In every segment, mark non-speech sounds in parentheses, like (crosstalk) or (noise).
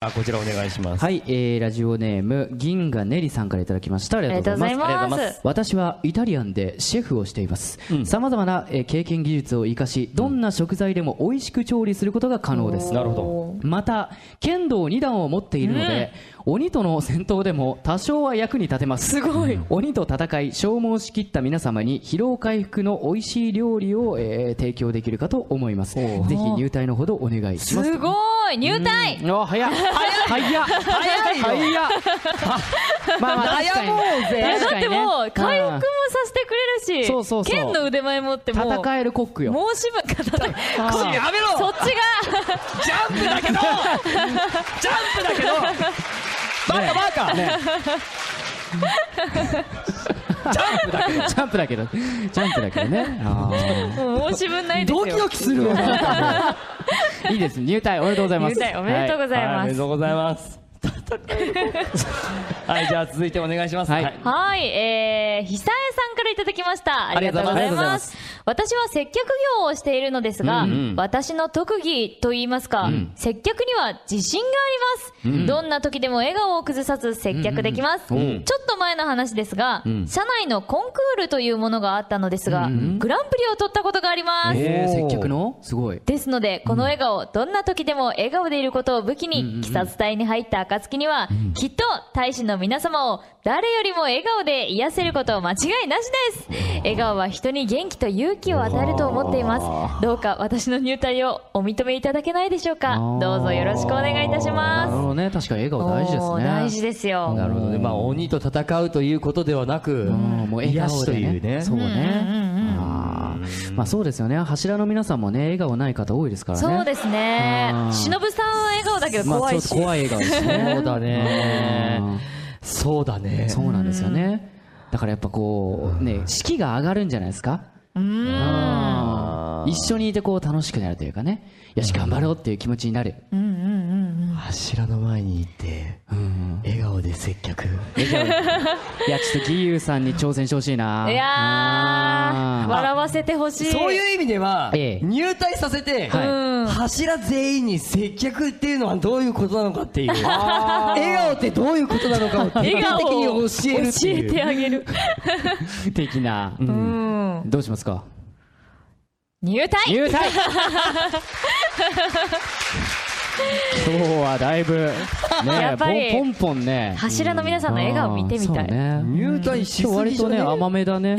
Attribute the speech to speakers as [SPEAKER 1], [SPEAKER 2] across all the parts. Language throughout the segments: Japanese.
[SPEAKER 1] あこちらお願いします
[SPEAKER 2] はい、えー、ラジオネーム銀河ねりさんからいただきましたあり
[SPEAKER 3] あり
[SPEAKER 2] が
[SPEAKER 3] がと
[SPEAKER 2] と
[SPEAKER 3] う
[SPEAKER 2] う
[SPEAKER 3] ご
[SPEAKER 2] ご
[SPEAKER 3] ざ
[SPEAKER 2] ざ
[SPEAKER 3] い
[SPEAKER 2] い
[SPEAKER 3] ます
[SPEAKER 2] ます私はイタリアンでシェフをしていますさまざまなえー経験技術を生かしどんな食材でも美味しく調理することが可能です
[SPEAKER 1] なるほ
[SPEAKER 2] また剣道2段を持っているので、鬼との戦闘でも多少は役に立てますすごい鬼と戦い消耗しきった皆様に疲労回復の美味しい料理を、えー提供できるかと思いますぜひ入隊のほどお願いします
[SPEAKER 3] すごい入隊
[SPEAKER 2] あ早っ早っ早い早いよまあまあ確かに
[SPEAKER 3] い
[SPEAKER 2] 確
[SPEAKER 3] やだっ
[SPEAKER 2] か
[SPEAKER 3] て
[SPEAKER 2] にね
[SPEAKER 3] もう回復もさせてくれるし、
[SPEAKER 2] そうそうそう
[SPEAKER 3] 剣の腕前もってもう
[SPEAKER 2] 戦えるコックよ
[SPEAKER 3] 申し分が戦い
[SPEAKER 2] (laughs) あー
[SPEAKER 1] やめろ
[SPEAKER 3] そっちが
[SPEAKER 1] ジャンプだけどジャンプだけどバカバカ、ジャンプだけど
[SPEAKER 2] (laughs) ジャンプだけどジャンプだけどねあ
[SPEAKER 3] もう申し分ないですよ
[SPEAKER 2] (laughs)
[SPEAKER 1] ドキドキするわ
[SPEAKER 2] ーいいです入隊おめでとうございます
[SPEAKER 3] 入隊おめでとうござい
[SPEAKER 1] は
[SPEAKER 3] ます
[SPEAKER 1] おめでとうございます (laughs) はいじゃあ続いてお願いします
[SPEAKER 2] はい
[SPEAKER 3] はい、えー、久江さんからいただきました。ありがとうございます。私は接客業をしているのですが、
[SPEAKER 2] うん
[SPEAKER 3] 私の特技と言いますか、接客には自信があります、どんな時でも笑顔を崩さず接客できます。ちょっと前の話ですが、社内のコンクールというものがあったのですが、グランプリを取ったことがあります。
[SPEAKER 2] えー、
[SPEAKER 1] おー
[SPEAKER 2] 接客のすごい
[SPEAKER 3] ですので、この笑顔、どんな時でも笑顔でいることを武器に、鬼殺隊に入った暁には、きっと大使の皆様を誰よりも笑顔で癒せること間違いなしです。笑顔は人に元気と勇気を与えると思っています。どうか私の入隊をお認めいただけないでしょうか。どうぞよろしくお願いいたし
[SPEAKER 2] なる
[SPEAKER 3] ま
[SPEAKER 2] ほどね確かに笑
[SPEAKER 3] す。
[SPEAKER 2] 顔大事です
[SPEAKER 3] お
[SPEAKER 2] ね
[SPEAKER 3] ー大事ですよ。
[SPEAKER 1] なるほどねまあ鬼と戦うということではなく
[SPEAKER 2] うんもう笑
[SPEAKER 1] 癒し
[SPEAKER 2] 顔
[SPEAKER 1] と
[SPEAKER 2] で、ね、
[SPEAKER 1] いうね
[SPEAKER 2] そうね、あーまあそうですよね柱の皆さんもね笑顔ない方多いですからね
[SPEAKER 3] そうですね
[SPEAKER 2] う。ん
[SPEAKER 3] しのぶさんは笑顔だけど怖
[SPEAKER 2] まあ、
[SPEAKER 3] いし。
[SPEAKER 2] ちょっと怖い笑顔ですね
[SPEAKER 1] そうだねそうだね
[SPEAKER 2] そうなんですよねだからやっぱこうね士気が上がるんじゃないですかあー一緒にいてこう楽しくなるというかねよし頑張ろうっていう気持ちになる
[SPEAKER 1] 柱の前にいて笑顔で接客
[SPEAKER 2] いやちょっと義勇さんに挑戦してほしいない
[SPEAKER 3] いやー、笑わせてほしい。
[SPEAKER 1] そういう意味では
[SPEAKER 2] ええ
[SPEAKER 1] 入隊させて
[SPEAKER 2] はい
[SPEAKER 3] うん
[SPEAKER 1] 柱全員に接客っていうのはどういうことなのかっていう笑顔ってどういうことなのかを徹
[SPEAKER 3] 笑
[SPEAKER 1] 底
[SPEAKER 3] 顔
[SPEAKER 1] 的
[SPEAKER 3] を
[SPEAKER 1] に教えるっていう
[SPEAKER 3] 教えてあげる。
[SPEAKER 2] 的な、うん
[SPEAKER 3] うん。
[SPEAKER 2] どうしますか
[SPEAKER 3] 入隊
[SPEAKER 2] 入隊今日はだいぶ
[SPEAKER 3] (laughs) や
[SPEAKER 2] ね
[SPEAKER 3] っぱり
[SPEAKER 2] ポンポンポンね
[SPEAKER 3] 柱の皆さんの笑顔見てみたい。
[SPEAKER 2] あーそうね
[SPEAKER 1] 入隊しすぎ
[SPEAKER 2] 今日
[SPEAKER 1] じ
[SPEAKER 2] 割
[SPEAKER 1] ゃ
[SPEAKER 2] と
[SPEAKER 1] ね
[SPEAKER 2] ね甘
[SPEAKER 1] (laughs)
[SPEAKER 2] めだね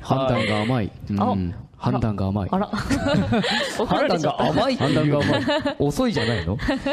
[SPEAKER 2] 判断が甘い、うん、判断が甘い
[SPEAKER 3] あら。怒ら
[SPEAKER 1] 判
[SPEAKER 3] れ
[SPEAKER 1] 断
[SPEAKER 3] ちゃ
[SPEAKER 1] が
[SPEAKER 3] った。
[SPEAKER 1] 甘いって
[SPEAKER 2] 判
[SPEAKER 1] い
[SPEAKER 2] 断
[SPEAKER 1] う
[SPEAKER 2] が甘い
[SPEAKER 1] 遅いじゃないの